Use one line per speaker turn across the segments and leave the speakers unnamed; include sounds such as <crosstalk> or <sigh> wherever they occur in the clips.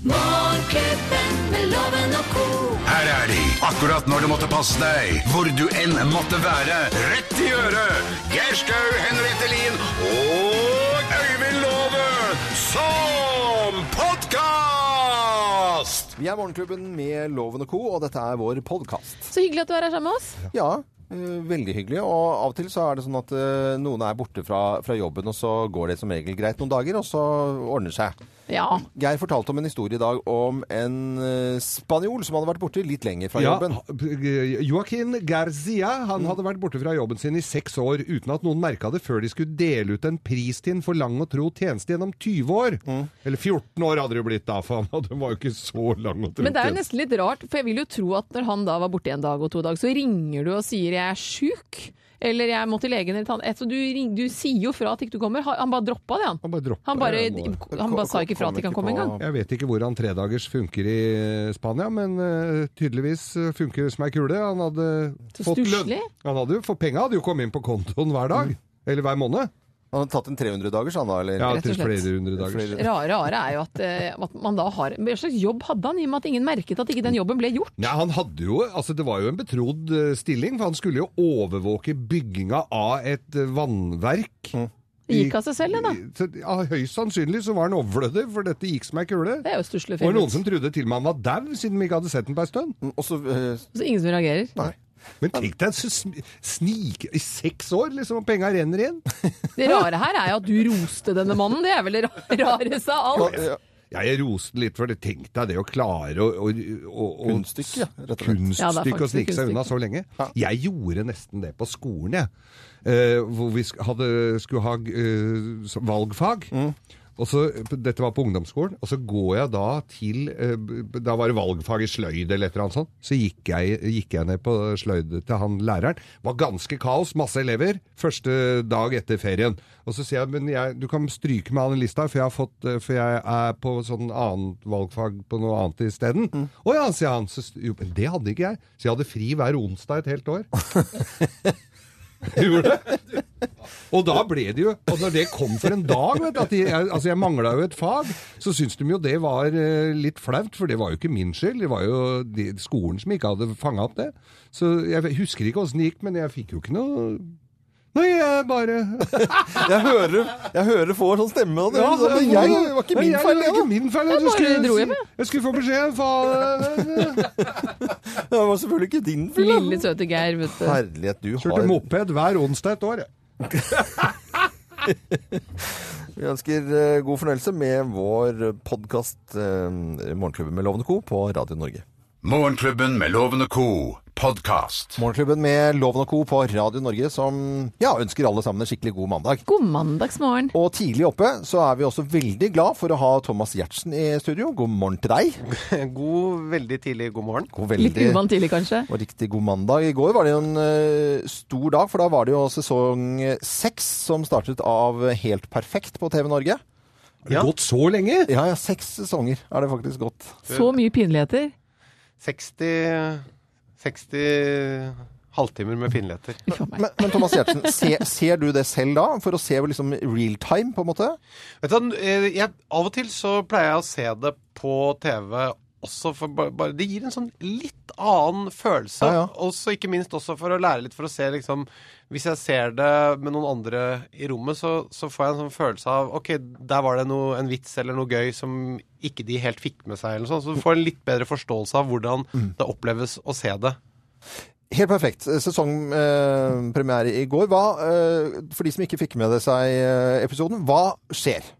Morgenklubben med loven og ko.
Her er de, akkurat når du måtte passe deg, hvor du enn måtte være. Rett i øret! Geir Skau, Henriette Lien og Øyvind Låve som podkast!
Vi er Morgenklubben med Loven og Co., og dette er vår podkast.
Så hyggelig at du er her sammen med oss.
Ja, eh, veldig hyggelig. Og av og til så er det sånn at eh, noen er borte fra, fra jobben, og så går det som regel greit noen dager, og så ordner det seg.
Ja.
Geir fortalte om en historie i dag om en eh, spanjol som hadde vært borte litt lenger fra
Ja,
jobben.
Joaquin Garzia han hadde vært borte fra jobben sin i seks år uten at noen merka det før de skulle dele ut en pris til en for lang og tro tjeneste gjennom 20 år.
Mm.
Eller 14 år hadde det jo blitt da, for han hadde- var jo ikke så lang og tro
Men det er jo
tjeneste.
nesten litt rart, for jeg vil jo tro at når han da var borte en dag og to dager, så ringer du og sier 'jeg er sjuk', eller 'jeg må til legen' eller tann... Altså, du, ring, du sier jo fra at ikke du kommer. Han han bare droppa det, han.
Han bare droppa
Han bare,
det, han bare-
han bare sa ikke fra
Kom
at de kan
ikke
komme
på-
engang.
Jeg vet ikke hvordan tredagers funker i eh, Spania, men eh, tydeligvis eh, funker det som ei kule. Han hadde
Så
fått lønn.
stusslig. Mm.
Han hadde jo, for penga hadde jo kommet inn på kontoen hver dag. Eller hver måned.
Han hadde tatt en 300-dagers, han da? Eller?
Ja,
Rett og
til
slett.
flere hundre dager.
Flere-
Rare, rare er jo at, eh, at man da har Hva slags jobb hadde han, i og med at ingen merket at ikke den jobben ble gjort?
Nei, han hadde jo, altså Det var jo en betrodd eh, stilling, for han skulle jo overvåke bygginga av et eh, vannverk.
Det gikk av seg selv, det da.
Så, ja, høyst sannsynlig så var han overflødig, for dette gikk som ei kule.
Det er jo stusslig
Og noen
fint.
som trodde til og med han var dau, siden vi ikke hadde sett den på ei stund.
Og så eh,
Så ingen som reagerer.
Nei.
Men tenk deg, så sn- snike i seks år, liksom, og penga renner igjen.
Det rare her er jo at du roste denne mannen. Det er vel det ra- rareste av alt.
ja,
Ja, jeg roste litt for det. Tenk deg det å klare å, å, å, å
Kunststykke, ja, rett og slett.
Ja, det er
Kunststykke å
faktisk
snike
et
seg unna så lenge. Jeg gjorde nesten det på skolen, jeg. Eh, hvor vi sk- hadde, skulle ha eh, s- valgfag. Og så, dette var på ungdomsskolen, og så går jeg da til eh, b- b- Da var det valgfag i sløyd eller et eller annet sånt. Så gikk jeg, gikk jeg ned på sløydet til han læreren. Var ganske kaos, masse elever. Første dag etter ferien. Og så sier jeg men jeg, du kan stryke meg av den lista, for jeg, har fått, eh, for jeg er på sånn annet valgfag på noe annet isteden. Å ja, sier han. Så, st- jo, men det hadde ikke jeg. Så jeg hadde fri hver onsdag et helt år. <laughs> Gjorde det? Og da ble det jo Og når det kom for en dag, vet du at de, jeg, Altså, jeg mangla jo et fag. Så syntes de jo det var eh, litt flaut, for det var jo ikke min skyld. Det var jo de, skolen som ikke hadde fanga opp det. Så jeg husker ikke åssen det gikk, men jeg fikk jo ikke noe Nei, jeg bare
jeg hører jeg hører få sånn stemme. Og det,
Ja,
men jeg, det var ikke min
jeg-
feil,
Det
det. da.
var ikke min feil.
Jeg
Jeg
bare
skulle,
dro hjem,
si- jeg skulle få beskjed, faen.
Det var selvfølgelig ikke din feil. da.
Lille søte Geir, vet du.
Herlighet, du
Kjørte
har
moped hver onsdag et år. jeg.
Vi ønsker eh, god fornøyelse med vår podkast eh, Morgenklubben med Lovende Co. på Radio Norge.
Morgenklubben med Loven og Co. podkast.
Morgenklubben med Loven og Co. på Radio Norge som ja, ønsker alle sammen en skikkelig god mandag.
God mandagsmorgen.
Og tidlig oppe så er vi også veldig glad for å ha Thomas Giertsen i studio. God morgen til deg.
God, veldig tidlig god morgen.
God
Litt
veldig
uvant tidlig, kanskje.
og riktig god mandag. I går var det jo en eh, stor dag, for da var det jo sesong eh, seks som startet av Helt perfekt på TV Norge.
Har det gått så lenge?
Ja, ja, seks sesonger er det faktisk gått.
Så mye pinligheter.
60, 60 halvtimer med finletter.
Uff a meg.
Men, men Thomas Giertsen, se, ser du det selv da? For å se liksom real time, på en måte?
Vet du, hva, eh, jeg, av og til så pleier jeg å se det på TV også, for ba- bare, det gir en sånn litt annen følelse.
Ja, ja.
Og så ikke minst også for å lære litt, for å se liksom Hvis jeg ser det med noen andre i rommet, så, så får jeg en sånn følelse av OK, der var det noe, en vits eller noe gøy som ikke de helt fikk med seg, eller noe sånt. Så du får en litt bedre forståelse av hvordan
Mm.
det oppleves å se det.
Helt perfekt. Sesongpremiere i går. Hva, eh, for de som ikke fikk med det seg eh, episoden, hva skjer?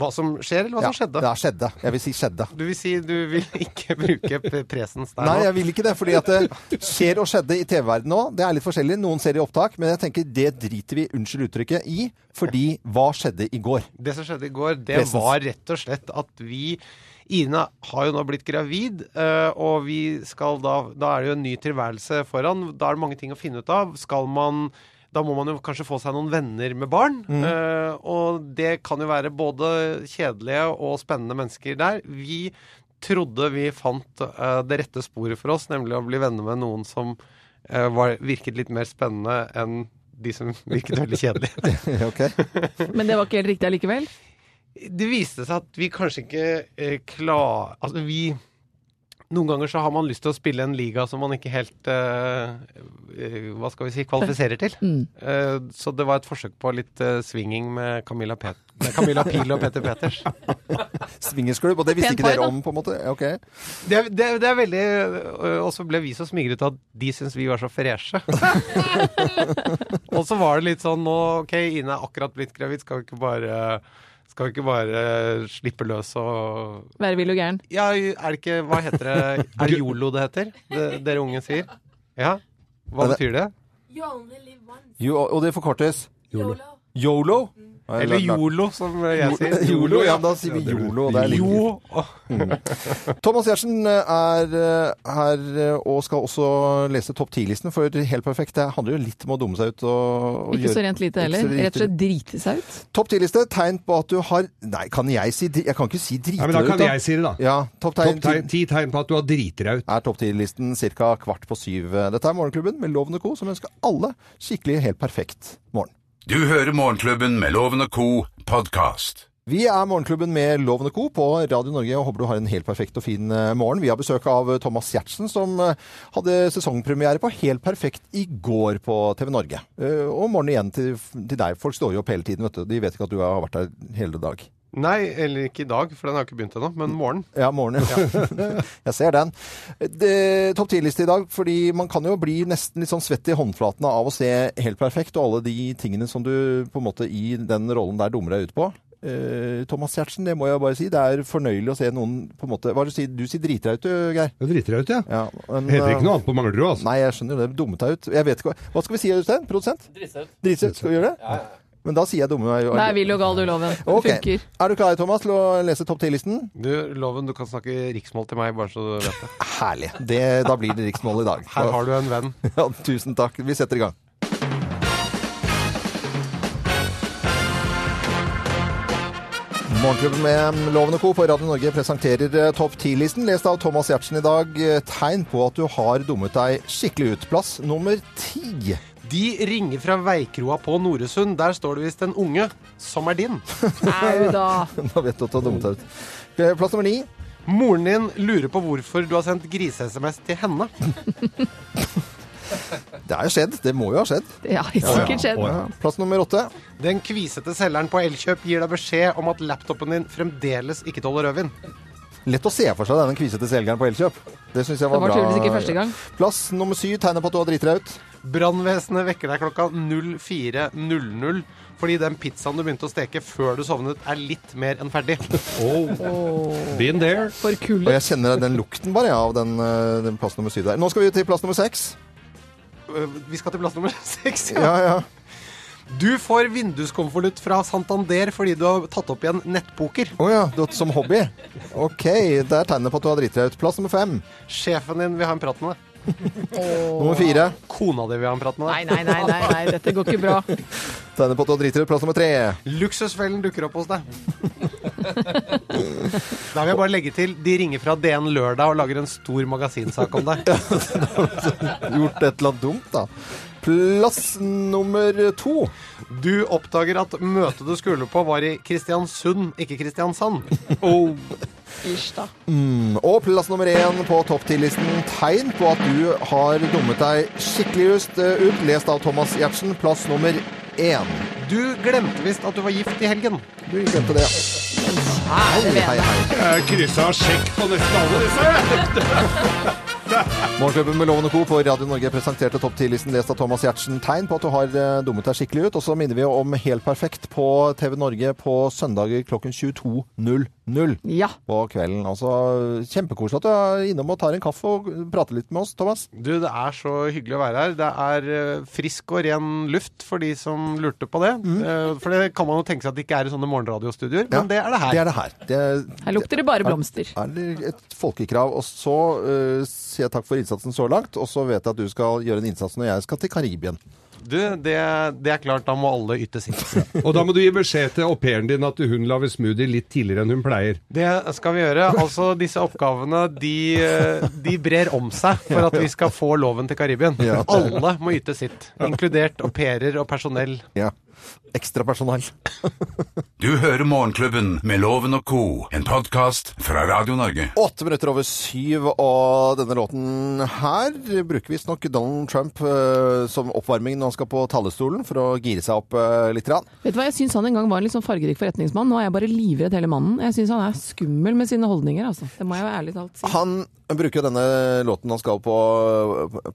Hva som skjer, eller hva som skjedde.
Det er skjedde. Jeg vil si skjedde.
Du vil si du vil ikke bruke p- presens der
Nei,
nå?
jeg vil ikke det. fordi at det skjer og skjedde i TV-verdenen nå. Det er litt forskjellig. Noen ser i opptak, men jeg tenker det driter vi, unnskyld uttrykket, i. Fordi hva skjedde i går? <laughs>
Det som skjedde i går, det
Presens.
var rett og slett at vi Ine har jo nå blitt gravid, eh, og vi skal da Da er det jo en ny tilværelse foran. Da er det mange ting å finne ut av. Skal man da må man jo kanskje få seg noen venner med barn. eh, og det kan jo være både kjedelige og spennende mennesker der. Vi trodde vi fant eh, det rette sporet for oss, nemlig å bli venner med noen som eh, var, virket litt mer spennende enn de som <laughs> virket veldig kjedelige.
Ok?
Men det var ikke helt riktig allikevel.
det viste seg at vi kanskje ikke eh, klar... Altså, vi Noen ganger så har man lyst til å spille en liga som man ikke helt eh, eh, Hva skal vi si kvalifiserer til. Eh, så det var et forsøk på litt eh, swinging med Camilla, Pet med Camilla Pil og Peter Peters.
Swingersklubb, og det visste
Pent
ikke
par,
dere
da.
om, på en måte? Ok.
Det, er- det, er- det er veldig øh, Og så ble vi så smigret at de syntes vi var så freshe. <laughs> og så var det litt sånn nå, OK, Ine er akkurat blitt gravid, skal vi ikke bare skal vi ikke bare slippe løs og
Være vill og gæren.
Ja, er det ikke Hva heter
<laughs>
det? Er det yolo det heter? Det, dere unge sier? Ja? Hva
Ja, det-
betyr det?
Jo, og det forkortes
Yolo.
Yolo?
Eller yolo, som jeg
<laughs>
sier.
<laughs> Yolo, ja, da sier vi Yolo. Det er like.
Jo. Åh,
Thomas Giertsen er eh, her eh, og skal også lese topp 10-listen, for helt perfekt. Det handler jo litt om å dumme seg ut og, og
Ikke så rent lite
ikke så
heller.
rent
Rett og slett drite seg ut.
Topp 10-liste, tegn på at du har Nei, kan jeg si dri- Jeg kan ikke si drite
Nei, men da
deg ut,
kan jeg si det, da.
Ja, topp
Topp
tegn
tegn, ti tegn på at du har driti deg ut.
er topp 10-listen ca. kvart på syv. Dette er Morgenklubben med Loven og Co., som ønsker alle skikkelig helt perfekt morgen.
Du hører Morgenklubben med Loven og Co. podkast.
Vi er Morgenklubben med Loven og Co. på Radio Norge og håper du har en helt perfekt og fin eh, morgen. Vi har besøk av eh, Thomas Giertsen, som eh, hadde sesongpremiere på Helt perfekt i går på TV Norge. Eh, Og morgen igjen til, til deg. Folk står jo opp hele tiden, vet du. De vet ikke at du har vært der hele dag.
Nei, eller ikke i dag, for den har ikke begynt ennå, men morgen.
Ja, morgenen. Ja. <laughs> Jeg ser den. Det- Topp 10-liste i dag, fordi man kan jo bli nesten litt sånn svett i håndflatene av å se helt perfekt og alle de tingene som du på en måte i den rollen der dummer deg ut på. Eh, Thomas Giertsen, det må jeg bare si. Det er fornøyelig å se noen på en måte Hva er det du sier? Du sier driter deg ut, du, Geir.
Du driter deg ut, ja.
Ja, men,
Det
eh,
heter ikke noe annet på Manglerud, altså.
Nei, jeg skjønner jo det. Dummet deg ut. Jeg vet ikke hva Hva skal vi si, Øystein? Produsent? Driter deg ut. Skal vi gjøre det? Men da sier jeg dumme meg
Det er vill og gal, du, loven. Det
Ok.
funker.
Er du klar, Thomas, til å lese topp 10-listen?
Du, Loven, du kan snakke riksmål til meg, bare så du vet det.
Herlig. Det, da blir det riksmål i dag.
Her har du en venn.
Ja, tusen takk. Vi setter i gang. Morgenklubben med Loven og Co. på Radio Norge presenterer eh, Topp 10-listen, lest av Thomas Giertsen i dag. Eh, Tegn på at du har dummet deg skikkelig ut. Plass nummer ti. <laughs>
De ringer fra veikroa på Noresund. Der står det visst en unge som er din.
Au da.
Da vet du at du har dummet deg ut. Eh, Plass nummer ni.
Moren din lurer på hvorfor du har sendt grise-SMS til henne.
Det er jo skjedd. Det må jo ha skjedd.
Det har sikkert skjedd.
Ja. Plass nummer åtte.
Den kvisete selgeren på Elkjøp gir deg beskjed om at laptopen din fremdeles ikke tåler rødvin.
Lett å se for seg denne kvisete selgeren på Elkjøp. Det syns jeg var,
Det var
bra.
tydeligvis ikke første gang.
Plass nummer syv. Tegnet på at du har driti deg ut.
Brannvesenet vekker deg klokka 04.00 fordi den pizzaen du begynte å steke før du sovnet, er litt mer enn ferdig. <laughs>
Been there.
For
Og
kullet.
jeg kjenner den lukten bare ja, av den, eh, den plass nummer syv der. Nå skal vi til plass nummer seks.
Øh, Vi skal til plass nummer seks.
Ja, ja.
Du får vinduskonvolutt fra Santander fordi du har tatt opp igjen nettpoker.
Å ja, du, som hobby. Ok, det er tegnet på at du har driti deg ut. Plass nummer fem.
Sjefen din vil ha en prat med deg.
Nummer fire.
Kona di vil ha en prat med deg.
Nei, nei, nei, nei, nei, dette går ikke bra.
Tegnet på at du har driti deg ut. Plass nummer tre.
Luksusfellen dukker opp hos deg. <laughs> Da vil jeg bare legge til de ringer fra DN Lørdag og lager en stor magasinsak om deg.
Gjort et eller annet dumt, da. Plass nummer to.
Du oppdager at møtet du skulle på, var i Kristiansund, ikke Kristiansand.
Ish, da.
Og plass nummer én på topp 10-listen. Tegn på at du har dummet deg skikkelig just eh, ut. Lest av Thomas Giertsen. Plass nummer én.
Du glemte visst at du var gift i helgen.
Du glemte det. Hei, hei, hei.
Jeg kryssa sjekk på nesten alle disse.
Morgenklubben med Loven og Co. på Radio Norge presenterte topp 10-listen lest av Thomas Giertsen. Tegn på at du har eh, dummet deg skikkelig ut. Og så minner vi om Helt perfekt på TV Norge på søndager klokken 22.00
Ja.
på kvelden. Altså, Kjempekoselig at du er innom og tar en kaffe og prater litt med oss, Thomas.
Du, det er så hyggelig å være her. Det er eh, frisk og ren luft for de som lurte på det. Eh, For det kan man jo tenke seg at det ikke er i sånne morgenradiostudioer,
Ja,
men det er det her.
Det er det her. Det
Her lukter det bare blomster.
er det et folkekrav. Og så eh, sier jeg takk for innsatsen så langt, og så vet jeg at du skal gjøre en innsats når jeg skal til Karibien.
Du, det, det er klart, da må alle yte sitt. <laughs>
Og da må du gi beskjed til au pairen din at hun lager smoothie litt tidligere enn hun pleier.
Det skal vi gjøre. Altså, disse oppgavene, de, eh, de brer om seg for at vi skal få loven til Karibien.
Ja.
Alle må yte sitt, inkludert au pairer og personell.
Ja. Ekstrapersonell.
Du hører Morgenklubben med Loven og Co., en podkast fra Radio Norge.
Åtte minutter over syv, og denne låten her bruker visstnok Donald Trump eh, som oppvarming når han skal på talerstolen, for å gire seg opp eh, litt. Rann.
Vet du hva, jeg syns han en gang var en litt sånn fargerik forretningsmann. Nå er jeg bare livredd hele mannen. Jeg syns han er skummel med sine holdninger, altså. Det må jeg jo ærlig talt si.
Han bruker jo denne låten han skal på,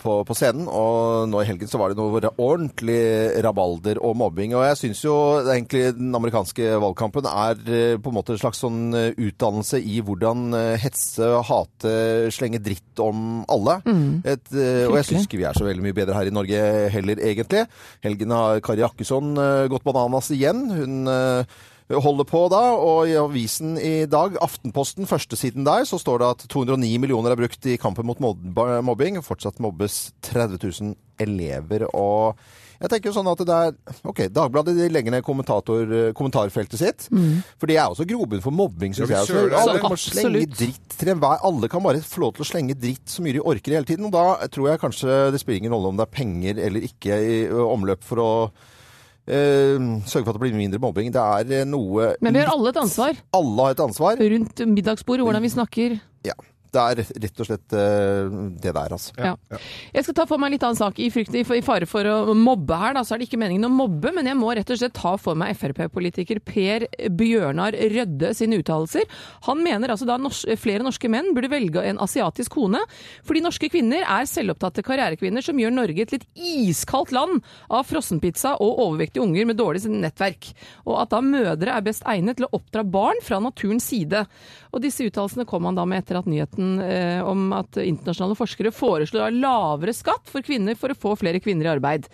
på, på scenen, og nå i helgen så var det noe ordentlig rabalder og mobbing. Og jeg syns jo egentlig den amerikanske valgkampen er eh, på en måte en slags sånn eh, utdannelse i hvordan eh, hetse, hate, slenge dritt om alle. Et, eh, og jeg syns ikke vi er så veldig mye bedre her i Norge heller, egentlig. Helgen har Kari Jakkesson eh, gått bananas igjen. Hun eh, holder på da, og i avisen i dag, Aftenposten, førstesiden der, så står det at 209 millioner er brukt i kampen mot mobb- mobbing. Fortsatt mobbes 30 000 elever, og jeg tenker jo sånn at det er Ok, Dagbladet de legger ned kommentator- eh, kommentarfeltet sitt. For det er også grobunn for mobbing, syns
Ja,
jeg. også.
vi søler det.
Alle kan
Absolutt.
slenge dritt til enhver. Alle kan bare få lov til å slenge dritt så mye de orker hele tiden. Og da tror jeg kanskje det spiller ingen rolle om det er penger eller ikke i ø, omløp for å eh, sørge for at det blir mindre mobbing. Det er eh, noe
Men vi har alle et ansvar
Alle har et ansvar.
rundt middagsbordet, hvordan vi snakker.
Ja. Det er rett og slett eh, det der, altså.
Ja. Jeg skal ta for meg en litt annen sak. I, frykt, I i fare for å mobbe her, da, så er det ikke meningen å mobbe, men jeg må rett og slett ta for meg Frp-politiker Per Bjørnar Rødde sine uttalelser. Han mener altså da nors flere norske menn burde velge en asiatisk kone, fordi norske kvinner er selvopptatte karrierekvinner som gjør Norge til et iskaldt land av frossenpizza og overvektige unger med dårlig nettverk, og at da mødre er best egnet til å oppdra barn fra naturens side. Og disse uttalelsene kom han da med etter at nyheten eh, om at internasjonale forskere foreslår lavere skatt for kvinner for å få flere kvinner i arbeid.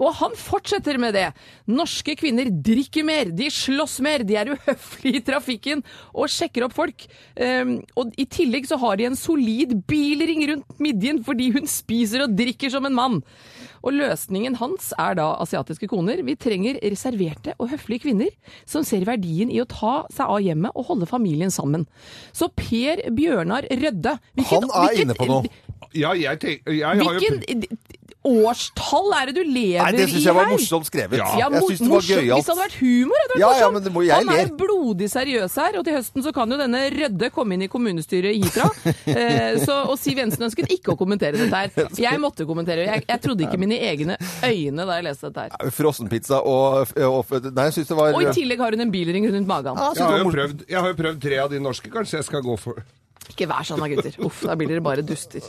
Og han fortsetter med det! Norske kvinner drikker mer, de slåss mer, de er uhøflige i trafikken og sjekker opp folk. Ehm, og i tillegg så har de en solid bilring rundt midjen fordi hun spiser og drikker som en mann. Og løsningen hans er da asiatiske koner. Vi trenger reserverte og høflige kvinner som ser verdien i å ta seg av hjemmet og holde familien sammen. Så Per Bjørnar Rødde
Han er inne på noe.
Ja, jeg tenker jeg har jo-
Hvilken årstall er det du lever
Nei,
i her?
det syns jeg var morsomt skrevet.
Ja.
Ja,
jeg
mo-
syns det var
morsomt. Hvis det hadde
gøyalt.
vært humor, hadde det vært
Ja, ja,
morsomt.
men det må jeg
Han er
le.
blodig seriøs her, og til høsten så kan jo denne Rødde komme inn i kommunestyret i
<laughs>
Hitra. eh, så, og Siv Jensen ønsket ikke å kommentere dette her. Jeg måtte kommentere. Jeg, jeg trodde ikke mine egne øyne da jeg leste dette her.
Frossenpizza og, og Nei, jeg syns det var
Og i tillegg har hun en bilring rundt magen.
Ja, jeg synes
Jeg har,
det var
jo
mor-
prøvd, jeg har jo prøvd tre av de norske, kanskje jeg skal gå for
Ikke vær sånn da, gutter. Uff, da blir dere bare duster.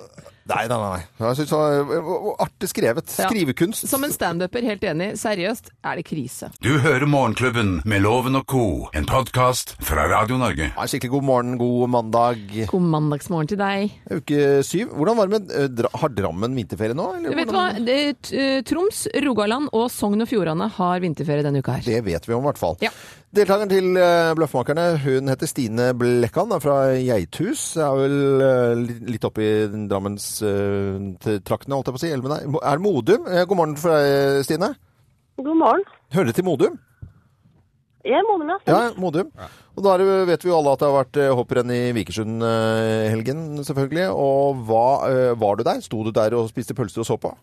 Nei, nei, nei. Jeg synes det var eh, og Artig skrevet.
Ja.
Skrivekunst.
Som en standuper, helt enig. Seriøst, er det krise.
Du hører Morgenklubben med Loven og Co., en podkast fra Radio Norge.
Ja, skikkelig god morgen, god mandag.
God mandagsmorgen til deg.
Uke syv. Hvordan var det med eh, dra, Har Drammen vinterferie nå? Eller
Du vet hva?
hvordan-
Det- eh, Troms, Rogaland og Sogn og Fjordane har vinterferie denne uka her.
Det vet vi om, i hvert fall.
Ja.
Deltakeren til eh, Bløffmakerne hun heter Stine Blekkan, er fra Geithus. Er vel eh, li- litt oppe i Drammens-traktene, holdt jeg på å si. Elven er er det Modum. Eh, God morgen for deg, Stine.
God morgen.
Hører det til Modum?
Jeg er Mona Mias.
Ja, Modum. Og da er det- vet vi jo alle at det har vært eh, hopprenn i Vikersund eh, helgen, selvfølgelig. Og hva, eh, var du der? Sto du der og spiste pølser og så på?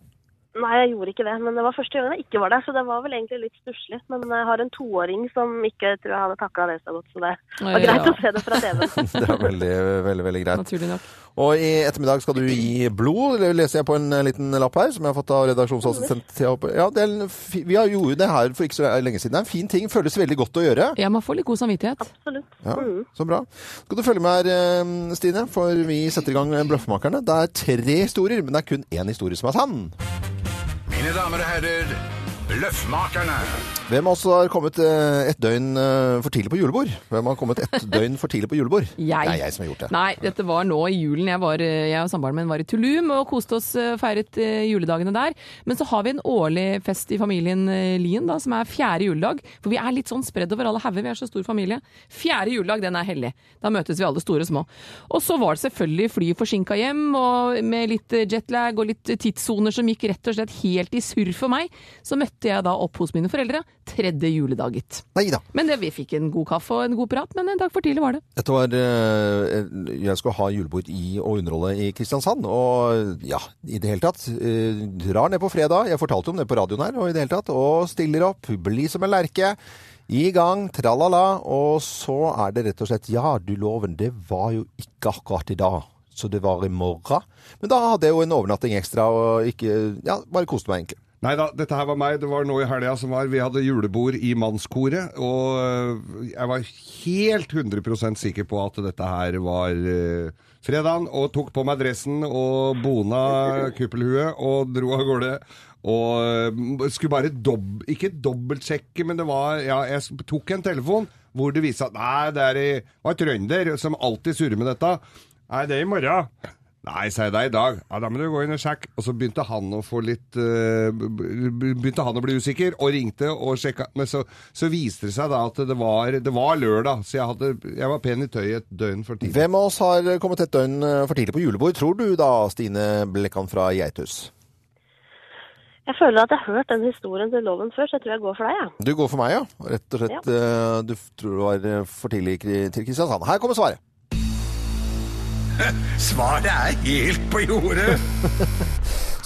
Nei, jeg gjorde ikke det. Men det var første gangen jeg ikke var der, så det var vel egentlig litt stusslig. Men jeg har en toåring som ikke tror jeg hadde takla det så godt, så det var greit
Ja.
å se det fra TV-en.
Det er veldig, veldig, veldig greit.
Naturlig nok.
Og i ettermiddag skal du gi blod, det leser jeg på en eh, liten lapp her, som jeg har fått av redaksjonsassistent. Thea Hoppe. Ja, det er en fi- vi har gjort det her for ikke så lenge siden. Det er en fin ting, føles veldig godt å gjøre.
Ja, man får litt god samvittighet.
Absolutt.
Ja,
Mm.
så bra. Skal du følge med her, eh, Stine, for vi setter i gang med Bløffmakerne. Det er tre historier, men det er kun én historie som er sann.
Mine damer og herrer, Løffmakerne.
Hvem av oss har kommet eh, et døgn eh, for tidlig på julebord? Hvem har kommet et døgn for tidlig på julebord?
<laughs> Jeg.
Det er jeg som har gjort det.
Nei, dette var nå i julen. Jeg, var, eh, jeg og samboeren min var i Tulum og koste oss, eh, feiret eh, juledagene der. Men så har vi en årlig fest i familien eh, Lien, da, som er fjerde juledag. For vi er litt sånn spredd over alle hauger, vi er så stor familie. Fjerde juledag, den er hellig. Da møtes vi alle store og små. Og så var det selvfølgelig flyet forsinka hjem, og med litt eh, jetlag og litt tidssoner som gikk rett og slett helt i surr for meg, så møtte møtte jeg da opp hos mine foreldre tredje juledag, gitt.
Nei da.
Men det, vi fikk en god kaffe og en god prat, men en dag for tidlig var det.
Dette var eh, Jeg skulle ha julebord i og underholde i Kristiansand. Og ja, i det hele tatt. eh, Drar ned på fredag. Jeg fortalte om det på radioen her. Og i det hele tatt. Og stiller opp. Bli som en lerke. I gang. Tralala. Og så er det rett og slett Ja, du loven, det var jo ikke akkurat i dag. Så det var i morgen. Men da hadde jeg jo en overnatting ekstra og ikke Ja, bare koste meg, egentlig.
Nei da, dette her var meg. Det var nå i helga som var. Vi hadde julebord i mannskoret, og øh, jeg var helt 100 sikker på at dette her var øh, fredagen, og tok på meg dressen og bona kuppelhue og dro av gårde. Og øh, skulle bare dob ikke dobbeltsjekke, men det var Ja, jeg s- tok en telefon hvor det viste seg at nei, det er i, var trønder som alltid surrer med dette. Nei, det er i morgen. Nei, sier jeg det er i dag. Ja, Da må du gå inn og sjekke. Og så begynte han å få litt eh, b- b- Begynte han å bli usikker, og ringte og sjekka. Men så, så viste det seg da at det var, det var lørdag, så jeg, hadde, jeg var pen i tøyet et døgn for tidlig.
Hvem av oss har kommet et døgn eh, for tidlig på julebord, tror du da, Stine Blekkan fra Geithus?
Jeg føler at jeg har hørt den historien til loven før, så jeg tror jeg går for deg, jeg.
Du går for meg, ja. Rett og slett. eh, Du f- tror det var eh, for tidlig kri- til Kristiansand. Her kommer svaret.
Svaret er helt på jordet.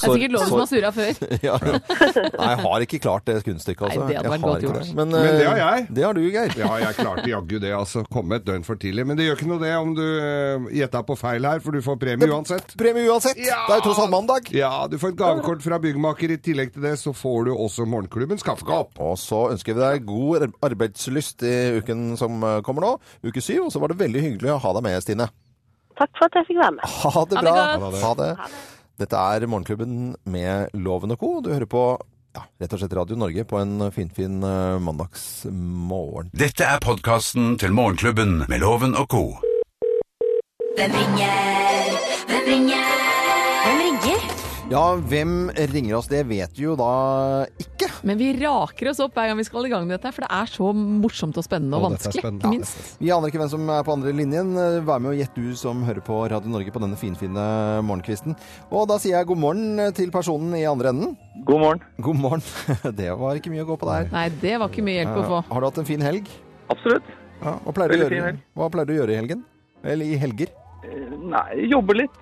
Det er sikkert loven som har surra før.
<laughs> Ja, ja. Nei, jeg har ikke klart det kunststykket, altså.
Nei, det hadde
Jeg
vært
har
godt
ikke
gjort.
det.
Men det har
eh,
jeg.
Det har du, Geir.
Ja, jeg klarte jaggu det, altså. Komme et døgn for tidlig. Men det gjør ikke noe det om du eh, gjetta på feil her, for du får premie uansett.
Premie uansett.
Ja!
Det er jo tross alt mandag.
Ja, du får et gavekort fra byggmaker. I tillegg til det så får du også morgenklubbens kaffekopp.
Og så ønsker vi deg god ar- arbeidslyst i uken som eh, kommer nå, uke syv. Og så var det veldig hyggelig å ha deg med, Stine.
Takk for at jeg fikk være med.
Ha det
Ha det
bra.
godt.
Ha det. Dette er Morgenklubben med Loven og co. Du hører på ja, rett og slett Radio Norge på en finfin eh, mandagsmorgen.
Dette er podkasten til Morgenklubben med Loven og co.
Hvem ringer? Hvem ringer? Hvem ringer?
Ja, hvem ringer oss? Det vet vi jo da ikke.
Men vi raker oss opp hver gang vi skal i gang med dette, for det er så morsomt og spennende og
Å, dette er
vanskelig.
spennende. Ja,
Minst.
Vi aner ikke hvem som er på andre linjen. Vær med og gjett du som hører på Radio Norge på denne finfine morgenkvisten. Og da sier jeg god morgen til personen i andre enden.
God morgen.
God morgen. <laughs> Det var ikke mye å gå på der.
Nei, det var ikke mye hjelp å få.
Eh, Har du hatt en fin helg?
Absolutt.
Ja, hva, pleier du å
Veldig fin
gjøre,
helg.
hva pleier du å gjøre i helgen? Eller i helger?
Eh, Nei, jobbe litt.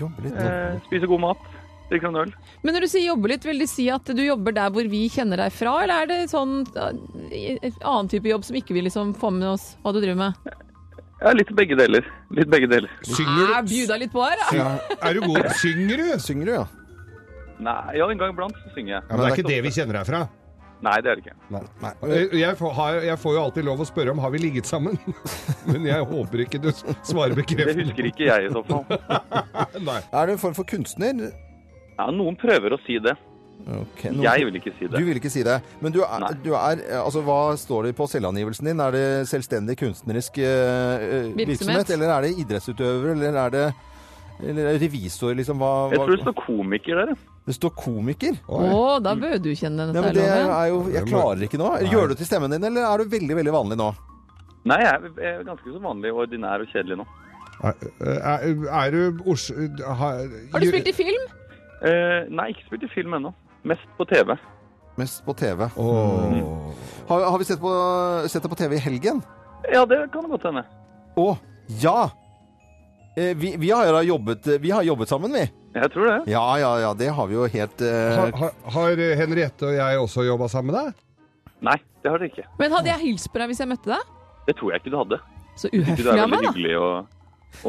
Jobbe litt.
Eh, spise god mat. Drikke noen øl.
Men når du sier jobbe litt, vil det si at du jobber der hvor vi kjenner deg fra, eller er det sånn eh, annen type jobb som ikke vil liksom få med oss hva du driver med?
Ja, litt begge deler. Litt begge deler.
Synger
Jeg
du?
bjuda litt på her, da.
Syng- Er du god? Synger du?
Synger du, ja?
Nei, ja, en gang iblant så synger jeg.
Ja, men det er ikke det vi kjenner deg fra.
Nei, det er det ikke.
Nei. Jeg, jeg, får, har, jeg får jo alltid lov å spørre om har vi ligget sammen, <laughs> men jeg håper ikke du s- svarer
Det
bekreftende.
husker ikke jeg i så fall.
Nei.
Er du en form for kunstner?
Ja, noen prøver å si det.
Ok, noen-
Jeg vil ikke si
Du
det.
vil ikke si det. Men du er,
Nei.
du er Altså, hva står det på selvangivelsen din? Er det selvstendig kunstnerisk eh, eh, virksomhet?
Virksomhet.
Eller er det idrettsutøver? Eller er det eller er det revisor, liksom? Hva,
Jeg tror det
hva?
står komiker der.
Det står komiker.
Å, da bør du
Nei,
kjenne denne
men det
loven.
er jo Jeg
Det må-
klarer ikke nå.
Nei.
Gjør du til stemmen din, eller er du veldig, veldig vanlig nå?
Nei, jeg er- jeg er ganske så vanlig og ordinær og kjedelig nå.
Er, eh, er, er du Os... Har,
Har du spilt i film?
Eh, nei, ikke spilt i film ennå. Mest på TV.
Mest på TV.
Åh.
Har, har vi sett, på, sett det på TV i helgen?
Ja, det kan godt hende.
Å, ja! Eh, Vi, vi, har jo da jobbet, vi har jobbet sammen, vi.
Jeg tror det.
Ja, ja, ja. Det har vi jo helt eh,
Har, har, har Henriette og jeg også jobba sammen med deg?
Nei, det har dere ikke.
Men hadde jeg hilst på deg hvis jeg møtte deg?
Det tror jeg ikke du hadde.
Så
Du
uhøflig
er
av meg,
veldig
da.
hyggelig og,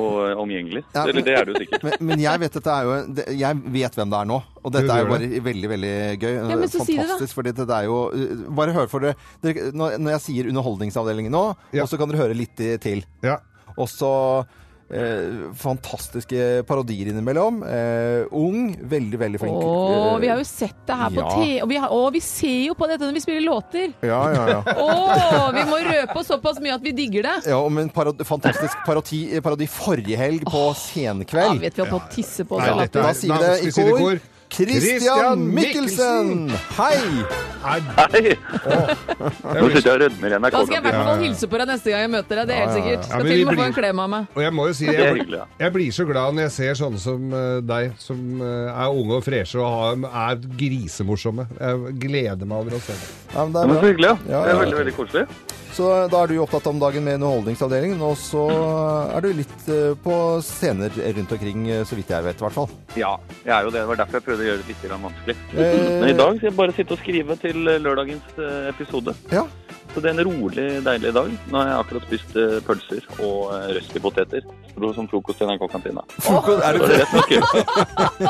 og eh, omgjengelig.
Ja, men-
Eller det er du sikkert.
Men, men jeg vet dette er jo det- Jeg vet hvem det er nå. Og dette
Du
er jo
gjør
bare veldig, veldig gøy.
Ja, men så si det da.
Fantastisk. Fordi dette er jo uh, Bare hør for dere. dere når, når jeg sier Underholdningsavdelingen nå,
Ja.
og så kan dere høre litt i- til.
Ja.
Og så eh, fantastiske parodier innimellom. Eh, ung, veldig, veldig flink. eh,
Å, vi har jo sett det her på
Ja.
T... Og vi, har, å, vi ser jo på dette når vi spiller låter.
Ja, ja, ja.
Å, vi må røpe oss såpass mye at vi digger det.
<laughs> ja og med en parodi, fantastisk parodi, parodi forrige helg på
Ja,
Senkveld.
vet vi holdt på å tisse på
Nei,
oss.
dette er-
Da sier vi
Nei,
det i
skal vi si det i
kor.
kor.
Christian Mikkelsen! Hei!
Hei! Nå sitter jeg og rødmer
Da skal jeg i
i NRK-koppen.
hvert fall hilse på deg neste gang jeg møter deg, det er helt sikkert.
Ja,
Skal
men
til
vi
og med få
blir-
en klem av meg.
Og jeg må jo si,
Det er
jeg,
hyggelig, ja.
jeg blir så glad når jeg ser sånne som eh, deg, som eh, er unge og freshe og har, er grisemorsomme. Jeg gleder meg over å se det.
Ja, men det
Ja,
er
men Så
bra.
hyggelig, ja.
Ja,
Det er
ja.
veldig, veldig koselig.
Så eh, da er du opptatt om dagen med Underholdningsavdelingen, og så er du litt eh, på scener rundt omkring, eh, så vidt jeg vet i hvert fall.
Ja, jeg er jo det. Det var derfor jeg prøvde å gjøre det litt grann vanskelig.
Eh.
Men i dag skal jeg bare sitte og skrive til eh, lørdagens eh, episode.
Ja.
Så det er en rolig, deilig dag. Nå har jeg akkurat spist eh, pølser og eh, røstipoteter Stro- som frokost i NRK-kantina.
<laughs> Frokost, er det
Så det er rett nok kult.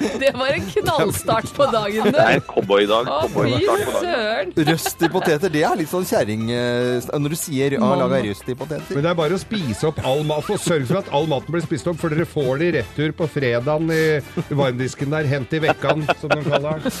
Det var en knallstart på dagen.
Det
Det.
er en cowboydag.
Å,
Cowboy
fy
start på dagen.
søren!
Røst i poteter, det er litt sånn kjerring... eh, Når du sier å
Mamma.
lage røst i poteter.
Men det er bare å spise opp all mat. Og sørg for at all maten blir spist opp, for dere får det i retur på fredagen i varmdisken der. Hent i vekkan, som de kaller den.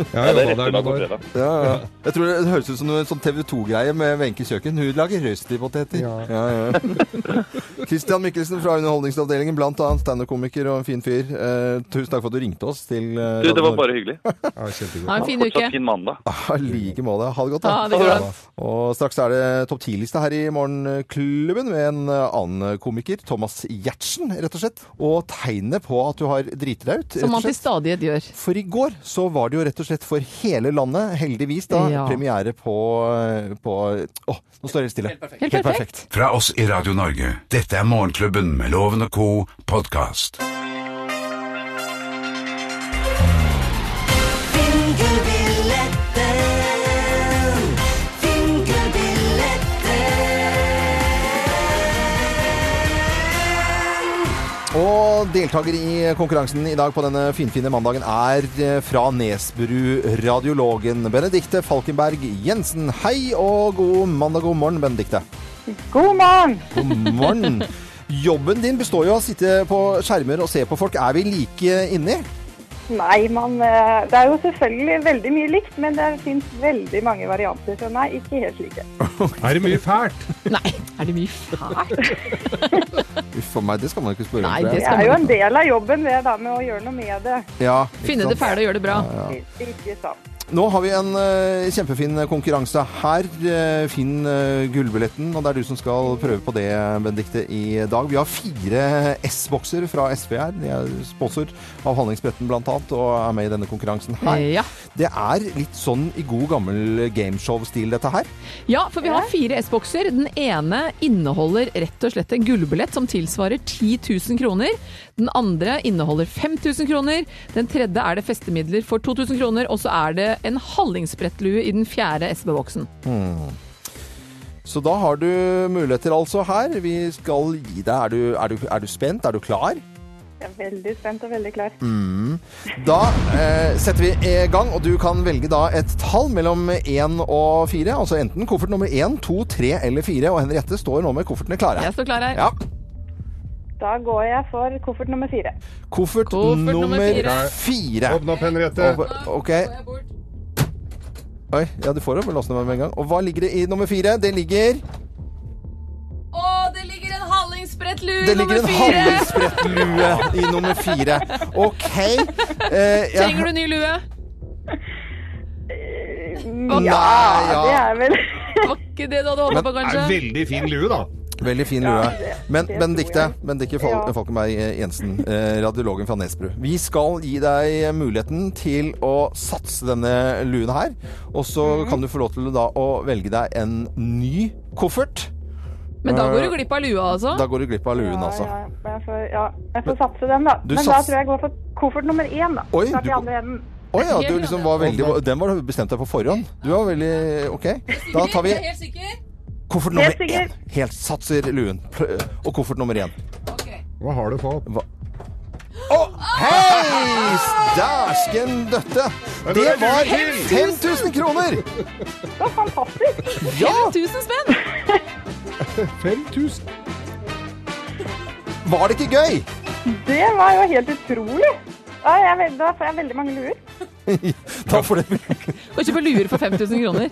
Jeg har
Ja, det er
jobbet der
rett dag
noen
på
år.
fredag.
Ja, ja. Jeg tror det høres ut som en sånn TV 2-greie med Wenche Kjøken. Hun lager røst i poteter. Ja.
Ja.
Ja, <laughs> Christian Mikkelsen fra Underholdningsavdelingen, blant annet standup-komiker og en fin fyr. Eh, tusen takk for at du ringte oss til eh,
Du,
Radio
det var
Norge.
bare hyggelig.
Ja, kjempegod.
Ha en fin uke.
Fortsatt fin mandag.
Ja, I like måte. Ha det godt,
Ha
da.
det godt.
Og straks er det topp 10-liste her i Morgenklubben med en annen komiker, Thomas Giertsen, rett og slett. Og tegnet på at du har driti deg ut,
Som
rett
man
og
til
slett.
stadighet gjør.
For i går så var det jo rett og slett for hele landet, heldigvis da,
Ja.
premiere på, på Å, nå står jeg helt stille. Helt perfekt.
Helt perfekt.
Fra oss i Radio Norge. Dette er Morgenklubben med Loven og co. podkast.
Fingerbilletten.
Og deltaker i konkurransen i dag på denne finfine mandagen er eh, fra Nesbru radiologen Benedikte Falkenberg Jensen. Hei og god mandag, god morgen, Benedikte.
God morgen!
God morgen. Jobben din består jo av å sitte på skjermer og se på folk. Er vi like inni?
Nei, man, eh, det er jo selvfølgelig veldig mye likt, men det finnes veldig mange varianter. Så nei, ikke helt like.
Er det mye fælt?
Nei, er det mye fælt?
Uff a meg, det skal man ikke spørre om.
Nei,
tror
det
Det
jeg.
skal-
er jo en del av jobben det da med å gjøre noe med det.
Ja, ikke
Finne
sant?
det fæle og gjøre det bra.
Ikke sant.
Nå har vi en eh, kjempefin konkurranse her. eh, finn eh, gullbilletten, og det er du som skal prøve på det, Benedikte, i dag. Vi har fire S-bokser fra SV her. De er sponsor av Handlingsbretten bl.a. og er med i denne konkurransen her.
Ja.
Det er litt sånn i god gammel gameshow-stil, dette her.
ja, for vi har fire S-bokser. Den ene inneholder rett og slett en gullbillett som tilsvarer 10 000 kroner. Den andre inneholder 5000 kroner. Den tredje er det festemidler for 2000 kroner. Og så er det en hallingsbrettlue i den fjerde SB-boksen.
Så da har du muligheter altså her. Vi skal gi deg. Er du, er du, er du spent? Er du klar? Mm.
Jeg er veldig spent og veldig klar.
Da eh, setter vi i gang, og du kan velge da et tall mellom én og fire. Altså enten koffert nummer én, to, tre eller fire. Og Henriette står nå med koffertene klare.
Jeg står klar her.
Ja.
Da går jeg for koffert nummer fire.
Koffert,
Koffert nummer
nummer
fire.
fire.
Åpne opp, Henriette.
Og- OK. Oi, ja, du får opp låsen med en gang. Og hva ligger det i nummer fire? Det ligger
Å, det ligger en hallingsbrettlue
Det ligger en halvspredt lue i nummer fire. OK. Eh, jeg-
Trenger du ny lue?
Nei,
Det
ja.
er vel
Var ikke det du hadde håpet på,
Det er en
kanskje?
veldig fin lue, da.
Veldig fin lue.
det-
Men
det
Benedikte,
tror
Benedikte Fal
Ja.
Falkenberg Jensen, eh, radiologen fra Nesbru. Vi skal gi deg muligheten til å satse denne luen her. Og så
Mhm.
kan du få lov til da å velge deg en ny koffert.
Men da går du glipp av
Da
lua, altså.
går du glipp av luen,
ja,
altså.
ja, men jeg får, ja, jeg får satse den, da.
Du
Men da
sats-
tror jeg jeg går for koffert nummer én, da.
Oi,
Start
du
i
går-
andre enden.
Å ja, du liksom var veldig Den var du bestemt deg på forhånd. Du var veldig OK. Da tar vi
<laughs> Helt sikker?
koffert nummer
Helt sikker.
én. Helt satser luen. Pl- Og koffert nummer én.
Hva har du på?
Hei! Dæsken døtte! Det var 5000 kroner!
Så fantastisk!
Ja!
1000 spenn!
5000?
Var det ikke gøy?
Det var jo helt utrolig. Ja, jeg er veld- Da får jeg veldig mange luer.
Da får det
Og kjøpe luer for 5000 kroner.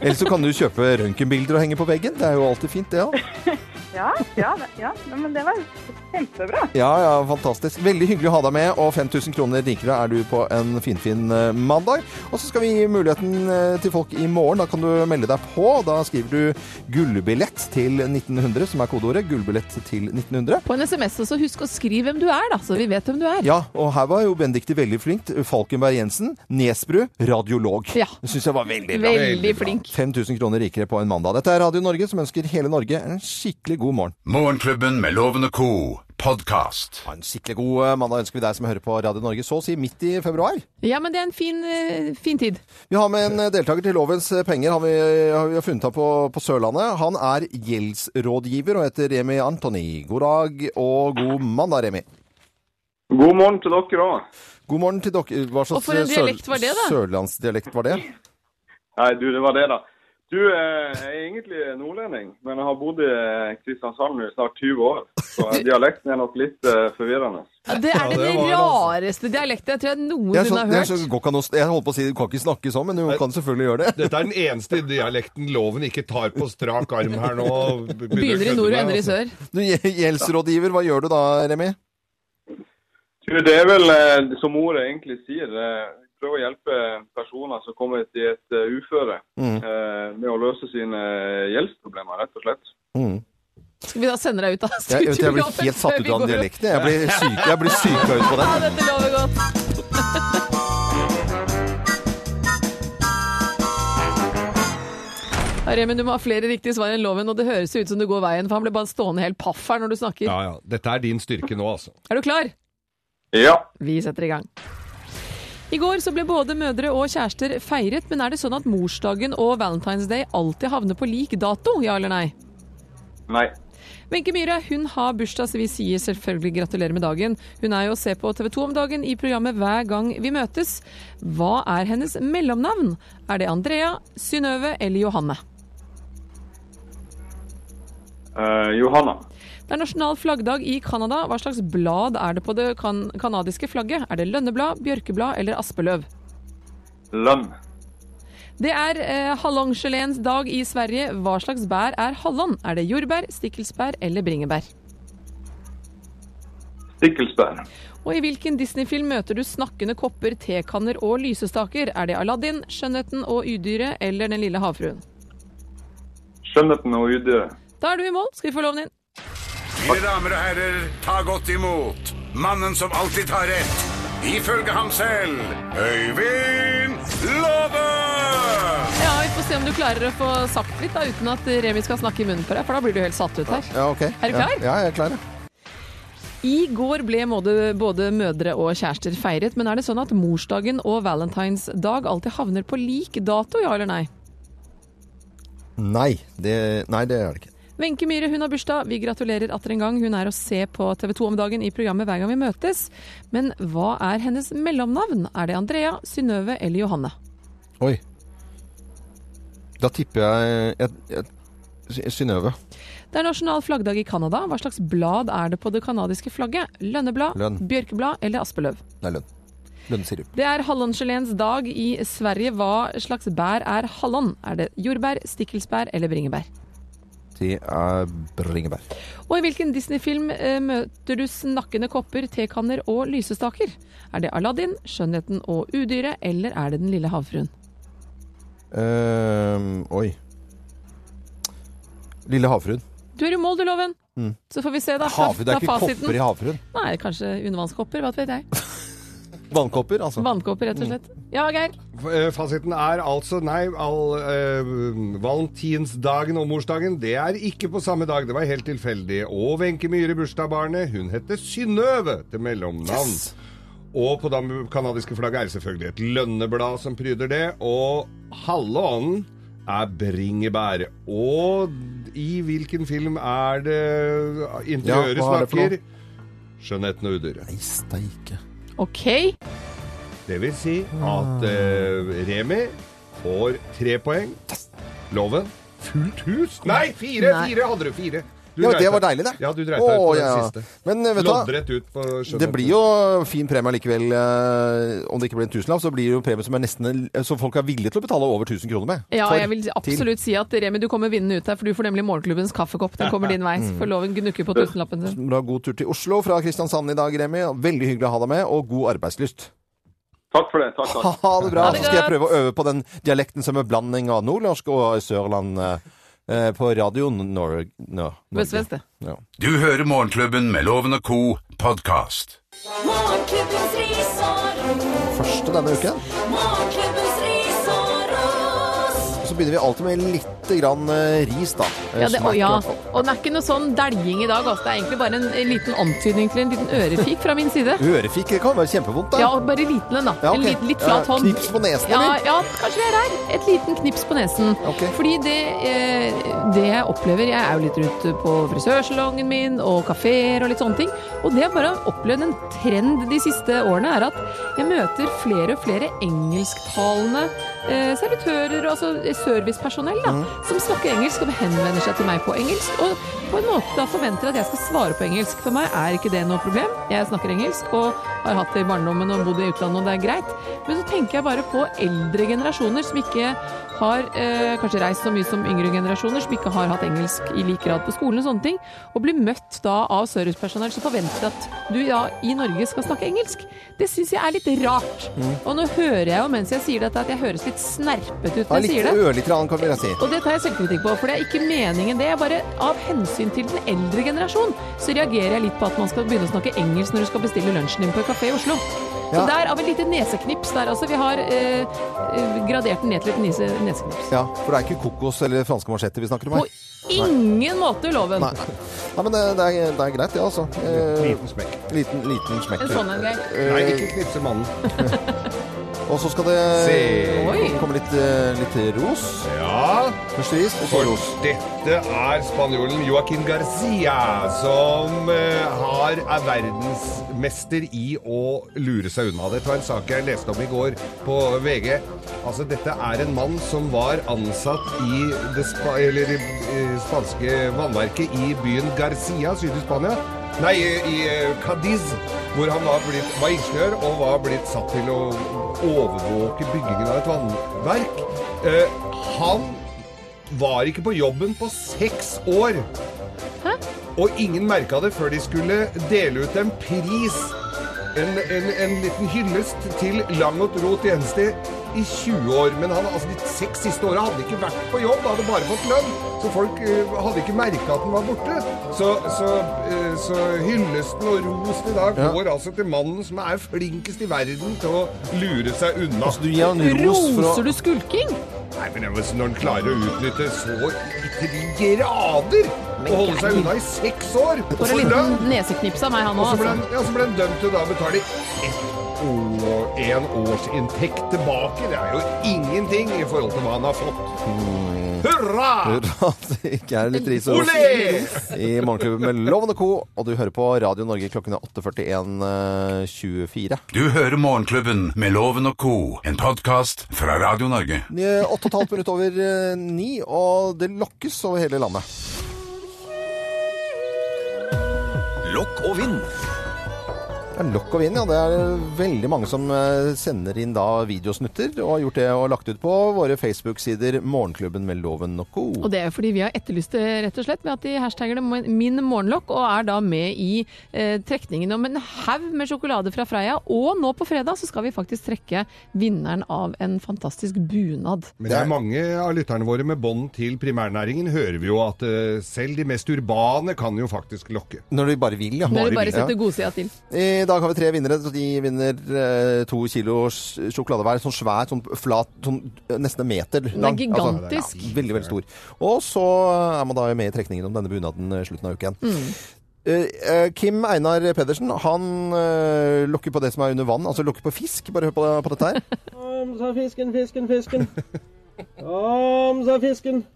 Eller så kan du kjøpe røntgenbilder og henge på veggen. Det er jo alltid fint, det òg.
Ja, ja, det- ja. Nei, men det var kjempebra.
Ja, ja, fantastisk. Veldig hyggelig å ha deg med, og 5000 kroner rikere er du på en finfin eh, mandag. Og så skal vi gi muligheten eh, til folk i morgen. Da kan du melde deg på. Da skriver du 'gullbillett til 1900', som er kodeordet. Gullbillett til 1900.
På en SMS også, husk å skrive hvem du er, da, så vi vet hvem du er.
Ja, og her var jo Benedicte veldig flink. Falkenberg Jensen, Nesbru, radiolog.
Ja.
Det syns jeg var veldig bra.
Veldig flink.
5000 kroner rikere på en mandag. Dette er Radio Norge, som ønsker hele Norge en skikkelig god morgen.
Morgenklubben med Loven og co. podkast.
Ha en skikkelig god eh, mandag ønsker vi deg som hører på Radio Norge, så å si midt i februar.
Ja, men det er en fin, eh, fin tid.
Vi har med en eh, deltaker til Lovens eh, penger, han vi, har vi har funnet ham på, på Sørlandet. Han er gjeldsrådgiver og heter Remi Antoni. God dag og god mandag, Remi.
God morgen til dere òg.
God morgen til dere. Hva slags
Og for en
eh, sør-
dialekt var det, da?
sørlandsdialekt var det?
Nei, du, det var det, da. Du eh, jeg er egentlig nordlending, men jeg har bodd i eh, Kristiansand nå i snart 20 år. Så dialekten er nok litt eh, forvirrende.
Det er den
altså.
rareste dialekten jeg tror jeg noen
Jeg, så,
har
jeg,
hørt.
så, går ikke an å, jeg holdt på å si du kan ikke snakke sånn, men du kan selvfølgelig gjøre det.
Dette er den eneste dialekten loven ikke tar på strak arm her nå. og be- å kødde med, altså.
<laughs> Du, gj- Gjeldsrådgiver, hva gjør du da, Remi?
Du, det er vel eh, som ordet egentlig sier. Eh, prøve å hjelpe personer som kommer til et eh, uføre
Mm.
Mhm.
eh, med å løse sine eh, gjeldsproblemer, rett og slett.
Skal vi da sende deg ut av
Jeg, jeg, vet, jeg blir
studioet
helt
før
satt ut av
vi
den
går
dialekten. Jeg blir syk, jeg blir syk ut på
Ja,
den.
dette lover godt. <laughs> Ja, Remen, du må ha flere riktige svar enn loven, og det høres jo ut som du går veien, for han ble bare stående helt paff her når du snakker.
Ja, ja. Dette er din styrke nå, altså.
Er du klar?
Ja.
Vi setter i gang. I går så ble både mødre og kjærester feiret, men er det sånn at morsdagen og Valentine's Day alltid havner på lik dato, ja eller nei?
Nei.
Wenche Myhre hun har bursdag, så vi sier selvfølgelig gratulerer med dagen. Hun er jo å se på TV 2 om dagen i programmet Hver gang vi møtes. Hva er hennes mellomnavn? Er det Andrea, Synnøve eller Johanne?
Eh, Johanna.
Det er nasjonal flaggdag i Canada. Hva slags blad er det på det kan kanadiske flagget? Er det lønneblad, bjørkeblad eller aspeløv?
Lønn.
Det er eh, hallongeleens dag i Sverige. Hva slags bær er hallon? Er det jordbær, stikkelsbær eller bringebær?
Stikkelsbær.
Og i hvilken Disney-film møter du snakkende kopper, tekanner og lysestaker? Er det Aladdin, Skjønnheten og Udyret eller Den lille havfruen?
Skjønnheten og udyret.
Da er du i mål. Skal vi få loven inn?
Mine damer og herrer, ta godt imot mannen som alltid tar rett, ifølge ham selv, Øyvind Låve!
Ja, vi får se om du klarer å få sagt litt da, uten at Remi skal snakke i munnen på deg, for da blir du helt satt ut her.
Ja, ok.
Er du klar?
Ja, ja jeg er klar. ja.
I går ble både, både mødre og kjærester feiret, men er det sånn at morsdagen og Valentine's dag alltid havner på lik dato, ja eller nei?
Nei, det, nei, det gjør det ikke.
Wenche Myhre hun har bursdag. Vi gratulerer atter en gang. Hun er å se på TV 2 om dagen i programmet Hver gang vi møtes. Men hva er hennes mellomnavn? Er det Andrea, Synnøve eller Johanne?
Oi. Da tipper jeg, jeg, jeg Synnøve.
Det er nasjonal flaggdag i Canada. Hva slags blad er det på det canadiske flagget? Lønneblad,
Lønn.
bjørkeblad eller aspeløv?
Nei, lønn. Lønnsirup.
Det er hallongelens dag i Sverige. Hva slags bær er hallon? Er det jordbær, stikkelsbær eller bringebær?
Det er bringebær.
Og i hvilken Disney-film eh, møter du snakkende kopper, tekanner og lysestaker? Er det Aladdin, Skjønnheten og Udyret, eller er det Den lille havfruen?
Ehm, oi. Lille havfruen.
Du er i mål, du, Loven.
Mm.
Så får vi se, da.
Havfruen, det er
Da
ikke
fasiten.
kopper i Altså. havfruen.
Nei, kanskje undervannskopper. Hva vet jeg.
Vannkopper, altså.
Vannkopper, rett og slett.
Mm.
Ja, Geir.
F- eh, Fasiten er altså nei. All, eh, valentinsdagen og morsdagen det er ikke på samme dag. Det var helt tilfeldig. Og Wenche Myhre, bursdagsbarnet, hun heter Synnøve til mellomnavn. Og på det kanadiske flagget er det selvfølgelig et lønneblad som pryder det. Og halve ånden er bringebær. Og i hvilken film er det interiøret
Ja, hva er det for noe?
snakker? Skjønnheten og udyret.
Nei, steike.
OK.
Det vil si at eh, Remi får tre poeng. Loven fullt hus. Nei, fire!
Nei.
Fire hadde du. Fire. Du
Ja,
dreit
det var
deg-
deilig, det.
Ja, du dreit deg
Å,
ut på den
ja, ja.
siste.
Men eh, vet du hva?
Loddrett ut på sjømaten.
Det blir jo fin premie likevel. Om det ikke blir en tusenlapp, så blir det jo premie som, er nesten, en- som folk er villige til å betale over 1000 kroner med.
Ja,
For-
jeg vil
til.
absolutt si at Remi, du kommer vinnende ut her, for du får nemlig morgenklubbens kaffekopp. Den kommer din vei.
Mm.
For loven gnukker på tusenlappen sin.
Bra, god tur til Oslo fra Kristiansand i dag, Remi. Veldig hyggelig å ha deg med, og god arbeidslyst. <laughs>
Takk for det. Takk, takk.
Ha det bra.
Ha det
Så skal jeg
godt.
prøve å øve på den dialekten som er blanding av nordnorsk og sørland eh, på radio Nor no, Norge.
Vest-vest, det.
Ja.
Du hører Morgenklubben med Loven og Co. podkast.
Morgenklubbens ris og ros.
Første denne uken.
Morgenklubbens ris og ros.
Så begynner vi alltid med litt grann eh, ris, da. Eh,
Ja, det,
smaker
og, ja.
i hvert fall.
og det er ikke noe sånn deljing i dag. Altså. Det er egentlig bare en, en liten antydning til en liten ørefik fra min side.
Ørefik det kan være kjempevondt, da.
Ja, og bare liten en, da.
Ja, ok.
En liten, litt flat
Ja,
hånd.
knips på nesen,
ja,
eller?
ja, kanskje vi er her. Et liten knips på nesen.
Ok.
Fordi det, eh, det jeg opplever Jeg er jo litt rundt på frisørsalongen min og kafeer og litt sånne ting. Og det jeg bare har opplevd en trend de siste årene, er at jeg møter flere og flere engelsktalende eh, servitører, altså servicepersonell, da, som snakker engelsk og henvender seg til meg på engelsk. Og på en måte da forventer at jeg skal svare på engelsk. For meg er ikke det noe problem. Jeg snakker engelsk og har hatt det i barndommen og bodd i utlandet, og det er greit. Men så tenker jeg bare på eldre generasjoner som ikke har eh, kanskje reist så mye som yngre generasjoner, som ikke har hatt engelsk i lik grad på skolen og sånne ting, og blir møtt da av servicepersonell som forventer at du ja, i Norge skal snakke engelsk. Det syns jeg er litt rart.
Mm.
Og nå hører jeg jo mens jeg sier dette at jeg høres litt snerpet ut
Ja,
når jeg
litt,
sier det.
ørlite grann, kan vi si.
Og det tar jeg selvkritikk på, for det er ikke meningen det. er Bare av hensyn til den eldre generasjon, så reagerer jeg litt på at man skal begynne å snakke engelsk når du skal bestille lunsjen din på en kafé i Oslo.
Ja.
Så der av et lite neseknips der, altså. Vi har eh, eh, gradert den ned til et nise, neseknips.
Ja, for det er ikke kokos eller franske mansjetter vi snakker om
På
her.
ingen måte loven.
Nei, Nei men det, det, er, det er greit, det, ja, altså. Eh,
Liten smekk.
liten, liten smekk.
En sånn en, Geir.
Eh,
Nei, ikke knipse mannen.
Og så skal det
Se.
Oi.
komme litt, eh, litt ros.
Ja,
Først ris, og så
for
ros.
dette er spanjolen Joaquin Garcia, som eh, har, er verdensmester i å lure seg unna. Dette var en sak jeg leste om i går på VG. Altså, dette er en mann som var ansatt i det spa, eller, i, eh, spanske vannverket i byen Garcia, syd i Spania. Nei, i eh, Cadiz, hvor han var, blitt, var ingeniør og var blitt satt til å overvåke byggingen av et vannverk. Eh, han var ikke på jobben på seks år. Og ingen merka det før de skulle dele ut en pris. En, en, en liten hyllest til Langot Rot Jensti i 20 år. Men han, altså, de seks siste åra hadde ikke vært på jobb, hadde bare fått lønn. Så folk eh, hadde ikke merka at den var borte. Så, så, eh, så hyllesten og rosen i dag går altså til mannen som er flinkest i verden til å lure seg unna.
Altså, Du gir han eh, ros for å <laughs>
Roser du skulking?
Nei, men jeg må si, Når han klarer å utnytte så til de grader å holde seg unna i seks år Og
For
så
en
ble han-
liten neseknips av meg, han
og
òg,
så ble
altså.
han, ja, så ble han dømt til å da betale ett år, en årsinntekt tilbake. Det er jo ingenting i forhold til hva han har fått.
Mm.
Hurra!
at det ikke er litt ris og ros
Olé!
i Morgenklubben med Loven og Co. Og du hører på Radio Norge klokken er eh, 8.41.24.
Du hører Morgenklubben med Loven og Co. en podkast fra Radio Norge.
Eh, Åtte og et halvt minutt over eh, ni, og det lokkes over hele landet.
Lokk og vinn.
Det er lokk og vinn, ja. Det er veldig mange som eh, sender inn da videosnutter, og har gjort det og lagt ut på våre Facebook-sider Morgenklubben med Loven og Co.
Og det er jo fordi vi har etterlyst det, rett og slett, med at de hashtagger det mo- 'min morgenlokk', og er da med i eh, trekningen om en haug med sjokolade fra Freia. Og nå på fredag så skal vi faktisk trekke vinneren av en fantastisk bunad.
Men det er mange av lytterne våre med bånd til primærnæringen hører vi jo at eh, selv de mest urbane kan jo faktisk lokke.
Når de bare vil, ja.
Når vi bare
vil,
setter
ja.
godsida til.
I dag har vi tre vinnere. så De vinner eh, to kilo sj- sjokolade hver. Sånn svær, sånn flat, sånn eh, nesten en meter
Den er
lang. Altså,
gigantisk.
Veldig, veldig stor. Og så er man da med i trekningen om denne bunaden eh, slutten av uken.
Mm.
Eh, eh, Kim Einar Pedersen han eh, lokker på det som er under vann, altså lokker på fisk. Bare hør på, på dette her.
Om sa fisken, fisken, fisken. Om sa fisken.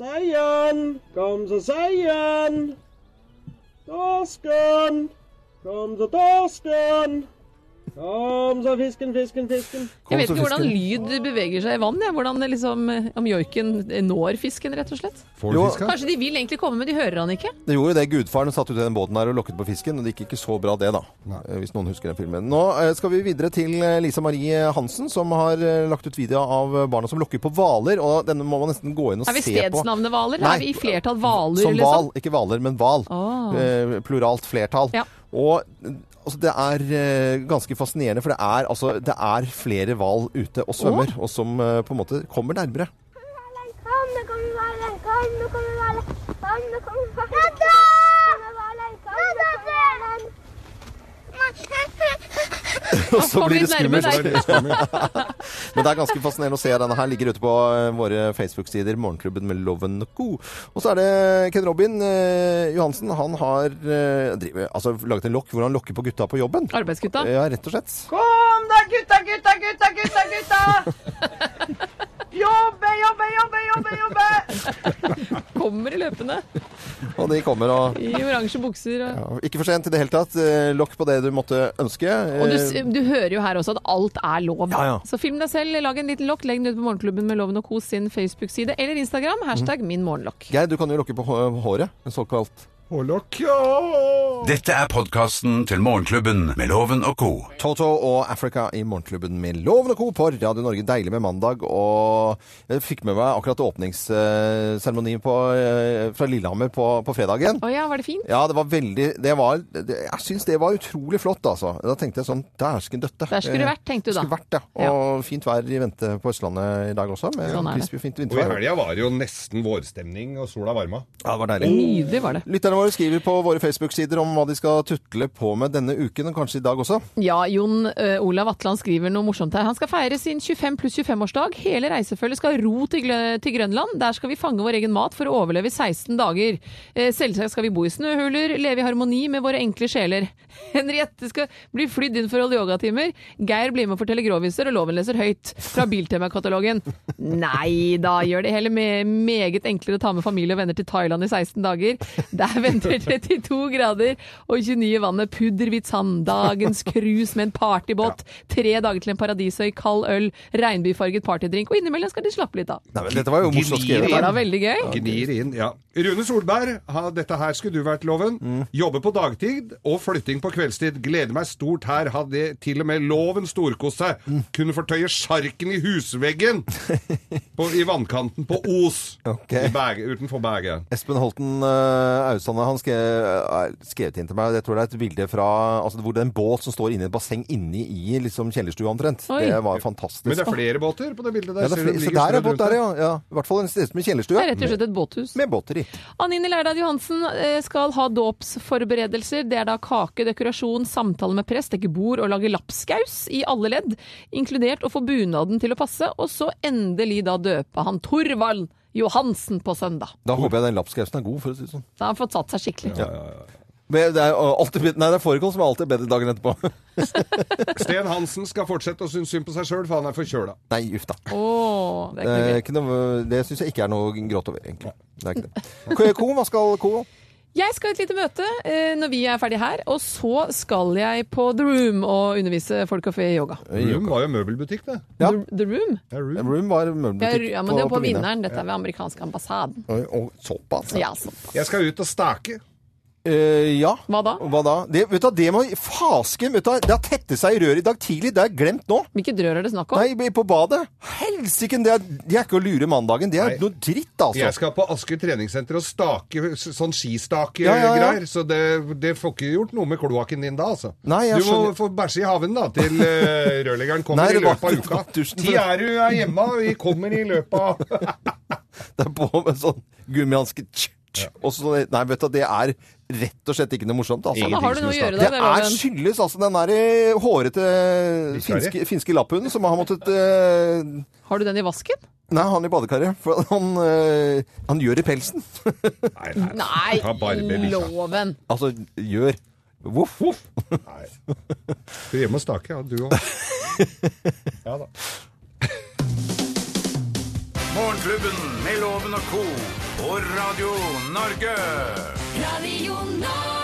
Seien, kom så seien. Torsken, kom så torsken. Kom så fisken, fisken, fisken.
<laughs> Jeg vet ikke hvordan lyd beveger seg i vann. Jeg. Hvordan det liksom, eh, om joiken når fisken, rett og slett.
Får Jo. fiska?
Kanskje de vil egentlig komme, men de hører han ikke.
Det gjorde jo det. Gudfaren satt ut i den båten der og lokket på fisken, og det gikk ikke så bra det, da. Eh, Hvis noen husker den filmen. Nå eh, skal vi videre til eh, Lisa Marie Hansen, som har eh, lagt ut video av eh, barna som lokker på hvaler. Og denne må man nesten gå inn og
Er vi
se på.
stedsnavnet hvaler?
Nei.
Er vi i flertall hvaler,
Som hval.
liksom?
Ikke hvaler, men hval.
Ah.
Eh, pluralt flertall.
Ja.
Og eh, altså, det er eh, ganske fascinerende, for det er, altså, det er flere hval ute og svømmer, og som eh, på en måte kommer nærmere.
Kom, nå kommer hvalen! Kom, nå kommer hvalen! Kom, nå kommer hvalen!
Og så
kom
blir
litt
det skummelt.
nærmere
Men det er ganske fascinerende å se. Denne her ligger ute på eh, våre Facebook-sider, Morgenklubben med Loven Co. Og så er det Ken Robin eh, Johansen. Han har eh, driver, altså, laget en lokk hvor han lokker på gutta på jobben.
Arbeidsgutta?
Ja, rett og slett.
Kom da, gutta, gutta, gutta, gutta, gutta! Jobbe, jobbe, jobbe, jobbe, jobbe!
Kommer i løpende
Og de kommer og
i oransje bukser. Og,
ja, Ikke for sent i det hele tatt. Eh, Lokk på det du måtte ønske.
og du,
Eh,
s- du hører jo her også at alt er lov.
Ja, ja.
Så film deg selv, lag en liten lokk, legg den ut på Morgenklubben med Loven og Kos sin Facebook-side eller Instagram. Hashtag min morgenlokk.
Geir, du kan jo lokke på hå- håret. Såkalt
Hårlokk,
Dette er podkasten til Morgenklubben med Loven og co.
Toto og Africa i Morgenklubben med Loven og Co. på Radio Norge. Deilig med mandag. Og jeg fikk med meg akkurat åpningsseremonien på, eh, fra Lillehammer på, på fredagen.
Å ja, var det fint?
Ja, det var veldig det var, det, Jeg syns det var utrolig flott, altså. Da tenkte jeg sånn Dæsken døtte. Eh,
Der skulle du vært, tenkte du da.
Skulle vært, ja. Og fint vær i vente på Østlandet i dag også, med
Sånn er det.
crispy og fint
Og i
vintervær.
helga var det jo nesten vårstemning, og sola varma.
Ja, det var deilig.
Nydelig var det.
Lytterne våre skriver på våre Facebook-sider om hva de skal tutle på med denne uken, og kanskje i dag også.
Ja, Jon ø, Olav Atland skriver noe morsomt her. Han skal feire sin 25 pluss 25-årsdag. Hele reisefølget skal ro til, Glø- til Grønland. Der skal vi fange vår egen mat for å overleve i 16 dager. Eh, Selvsagt skal vi bo i snøhuler, leve i harmoni med våre enkle sjeler. <laughs> Henriette skal bli flydd inn for all yogatimer. Geir blir med og forteller groviser, og loven leser høyt fra Biltema-katalogen. Nei da, gjør det hele me meget enklere å ta med familie og venner til Thailand i 16 dager. Der venter 32 grader og 29 i vannet. Pudderhvitt sand, dagens cruise med en partybåt. Tre dager til en paradisøy, kald øl, regnbyfarget partydrink, og innimellom skal de slappe litt av.
Nei, men dette var jo morsomt skrevet.
Det var da veldig gøy.
Gnir inn, ja. Rune Solberg, ha, dette her skulle du vært loven. Jobbe på dagtid og flytting på kveldstid. Gleder meg stort her. Hadde til og med loven storkost seg. Kunne fortøye sjarken i
<laughs>
husveggen på, i vannkanten på Os. I Berge, utenfor Berge.
Espen Holten eh, Austane han skrev, eh, skrev inn til meg Jeg tror det er et bilde fra altså, hvor det er en båt som står inne i et basseng inni i liksom, kjellerstua omtrent.
Oi.
Det var fantastisk.
Men det er flere båter på det bildet
Ja,
der.
det er
Ser du,
flere,
den
så
ligger
der er
strødd
båt der,
rundt
ja. ja. I hvert fall en sted med kjellerstue.
Det er rett og slett et båthus.
Med båter i.
Anine Lærdal Johansen eh, skal ha dåpsforberedelser. Det er da kake, dekorasjon, samtale med prest, dekke bord og lage lapskaus i alle ledd, inkludert å få bunaden til å passe, og så endelig da døpe han Torvald Johansen på søndag.
Da håper jeg den lapskausen er god, for å si det sånn.
Da har han fått satt seg skikkelig.
Men det er jo alltid, nei, det er fårikål som er alltid bedre dagen etterpå.
Sten Hansen skal fortsette å synes synd på seg sjøl, for han er forkjøla.
<laughs> Nei, uff da.
Åh, det
Det,
er ikke noe
er Eh, ikke
gøy.
noe, det syns jeg ikke er noe gråt over, egentlig. Det er ikke det. Ko- Ko, hva skal Ko?
Jeg skal i et lite møte eh, når vi er ferdig her, og så skal jeg på The Room og undervise folk og fe i yoga.
Room var jo møbelbutikk, det.
The Room?
Room.
var
Ja,
møbelbutikk
ja, men det er jo på vinneren. Dette er ved amerikanske ambassaden.
Oi, Og såpass.
Ja, sånn.
Jeg skal ut og stake.
Eh, ja.
Hva da?
Hva da? Det, vet du, hva, det må Fasken! Vet du, hva, det har tettet seg i røret i dag tidlig. Det er glemt nå.
Hvilket rør er det snakk om?
Nei, på badet. Helsike! Det, er- det er ikke å lure mandagen. Det er noe dritt, altså.
Jeg skal på Asker treningssenter og stake s- sånn
Ja, ja, ja.
skistake-greier. Så det, det får ikke gjort noe med kloakken din da, altså.
Nei, jeg
du må
skjønner.
få bæsje i haven da, til
<laughs>
eh, rørleggeren kommer
Nei,
i
det var-
løpet
<laughs>
av uka. Ti er du er hjemme, og vi kommer i løpet av
<laughs> Det er på med sånn gummihanske tsk, tsk, og så, Nei, vet du, det er rett og slett ikke noe morsomt. Altså.
Da har du noe å gjøre, da,
det
det er
er
loven.
skyldes altså den der eh, hårete finske, finske lapphunden som har måttet eh,
Har du den i vasken?
Nei, han i badekaret. For han, eh, han gjør i pelsen.
Nei,
Ta Barbie-bikkja.
loven!
Altså, gjør. Voff, voff.
Du er hjemme og staker, ja. Du òg.
<laughs>
Ja da.
Morgenklubben med Loven og co. på Radio Norge.
Radio Norge.